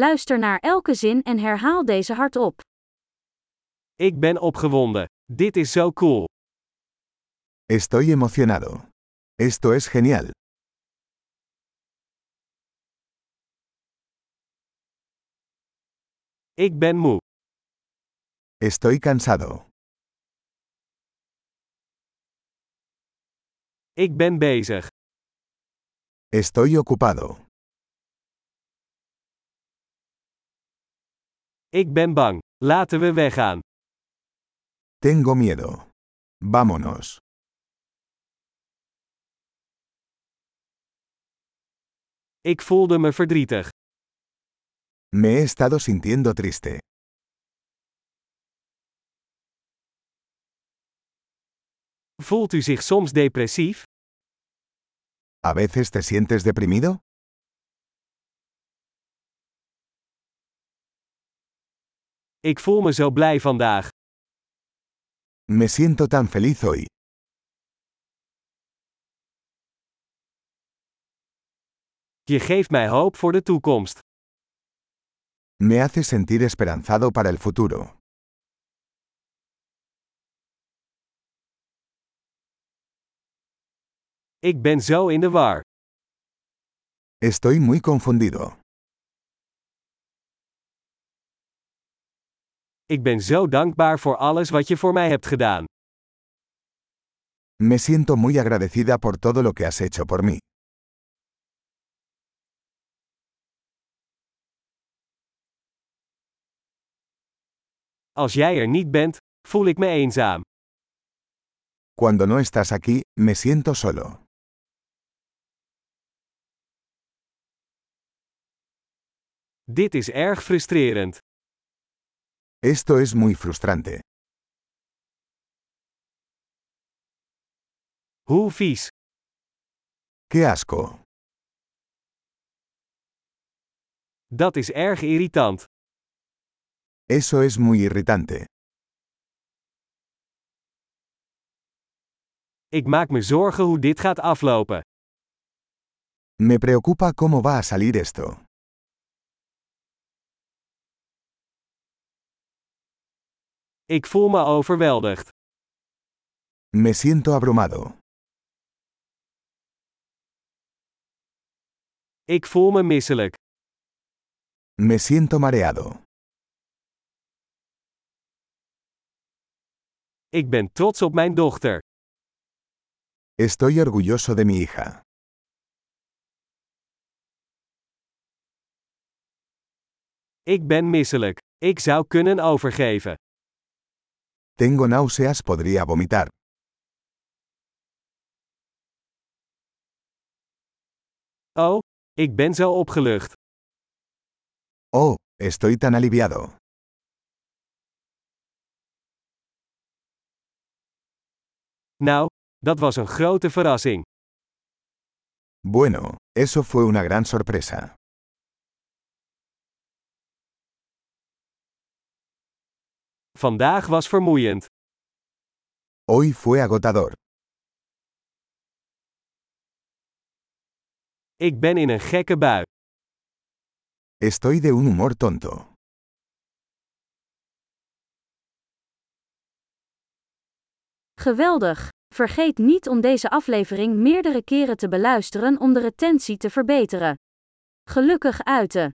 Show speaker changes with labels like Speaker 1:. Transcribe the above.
Speaker 1: Luister naar elke zin en herhaal deze hardop.
Speaker 2: Ik ben opgewonden. Dit is zo cool.
Speaker 3: Estoy emocionado. Esto es genial.
Speaker 2: Ik ben moe.
Speaker 3: Estoy cansado.
Speaker 2: Ik ben bezig.
Speaker 3: Estoy ocupado.
Speaker 2: Ik ben bang. Laten we weggaan.
Speaker 3: Tengo miedo. Vámonos.
Speaker 2: Ik voelde me verdrietig.
Speaker 3: Me he estado sintiendo triste.
Speaker 2: Voelt u zich soms depressief?
Speaker 3: ¿A veces te sientes deprimido?
Speaker 2: Ik voel me zo blij vandaag.
Speaker 3: Me siento tan feliz hoy.
Speaker 2: Je geeft mij hoop voor de toekomst.
Speaker 3: Me hace sentir esperanzado para el futuro.
Speaker 2: Ik ben zo in de war.
Speaker 3: Estoy muy confundido.
Speaker 2: Ik ben zo dankbaar voor alles wat je voor mij hebt gedaan.
Speaker 3: Me siento muy agradecida por todo lo que has hecho por mí.
Speaker 2: Als jij er niet bent, voel ik me eenzaam.
Speaker 3: Cuando no estás aquí, me siento solo.
Speaker 2: Dit is erg frustrerend.
Speaker 3: Esto es muy frustrante.
Speaker 2: Hoe vies.
Speaker 3: ¡Qué asco!
Speaker 2: Dat is erg irritant.
Speaker 3: Eso es muy irritante.
Speaker 2: Ik maak me zorgen hoe dit gaat aflopen.
Speaker 3: Me preocupa cómo va a salir esto.
Speaker 2: Ik voel me overweldigd.
Speaker 3: Me siento abrumado.
Speaker 2: Ik voel me misselijk.
Speaker 3: Me siento mareado.
Speaker 2: Ik ben trots op mijn dochter.
Speaker 3: Estoy orgulloso de mi hija.
Speaker 2: Ik ben misselijk. Ik zou kunnen overgeven.
Speaker 3: Tengo náuseas, podría vomitar.
Speaker 2: Oh, ik ben zo opgelucht.
Speaker 3: Oh, estoy tan aliviado.
Speaker 2: Nou, dat was een grote verrassing.
Speaker 3: Bueno, eso fue una gran sorpresa.
Speaker 2: Vandaag was vermoeiend.
Speaker 3: Hoy fue agotador.
Speaker 2: Ik ben in een gekke bui.
Speaker 3: Estoy de un humor tonto.
Speaker 1: Geweldig! Vergeet niet om deze aflevering meerdere keren te beluisteren om de retentie te verbeteren. Gelukkig uiten!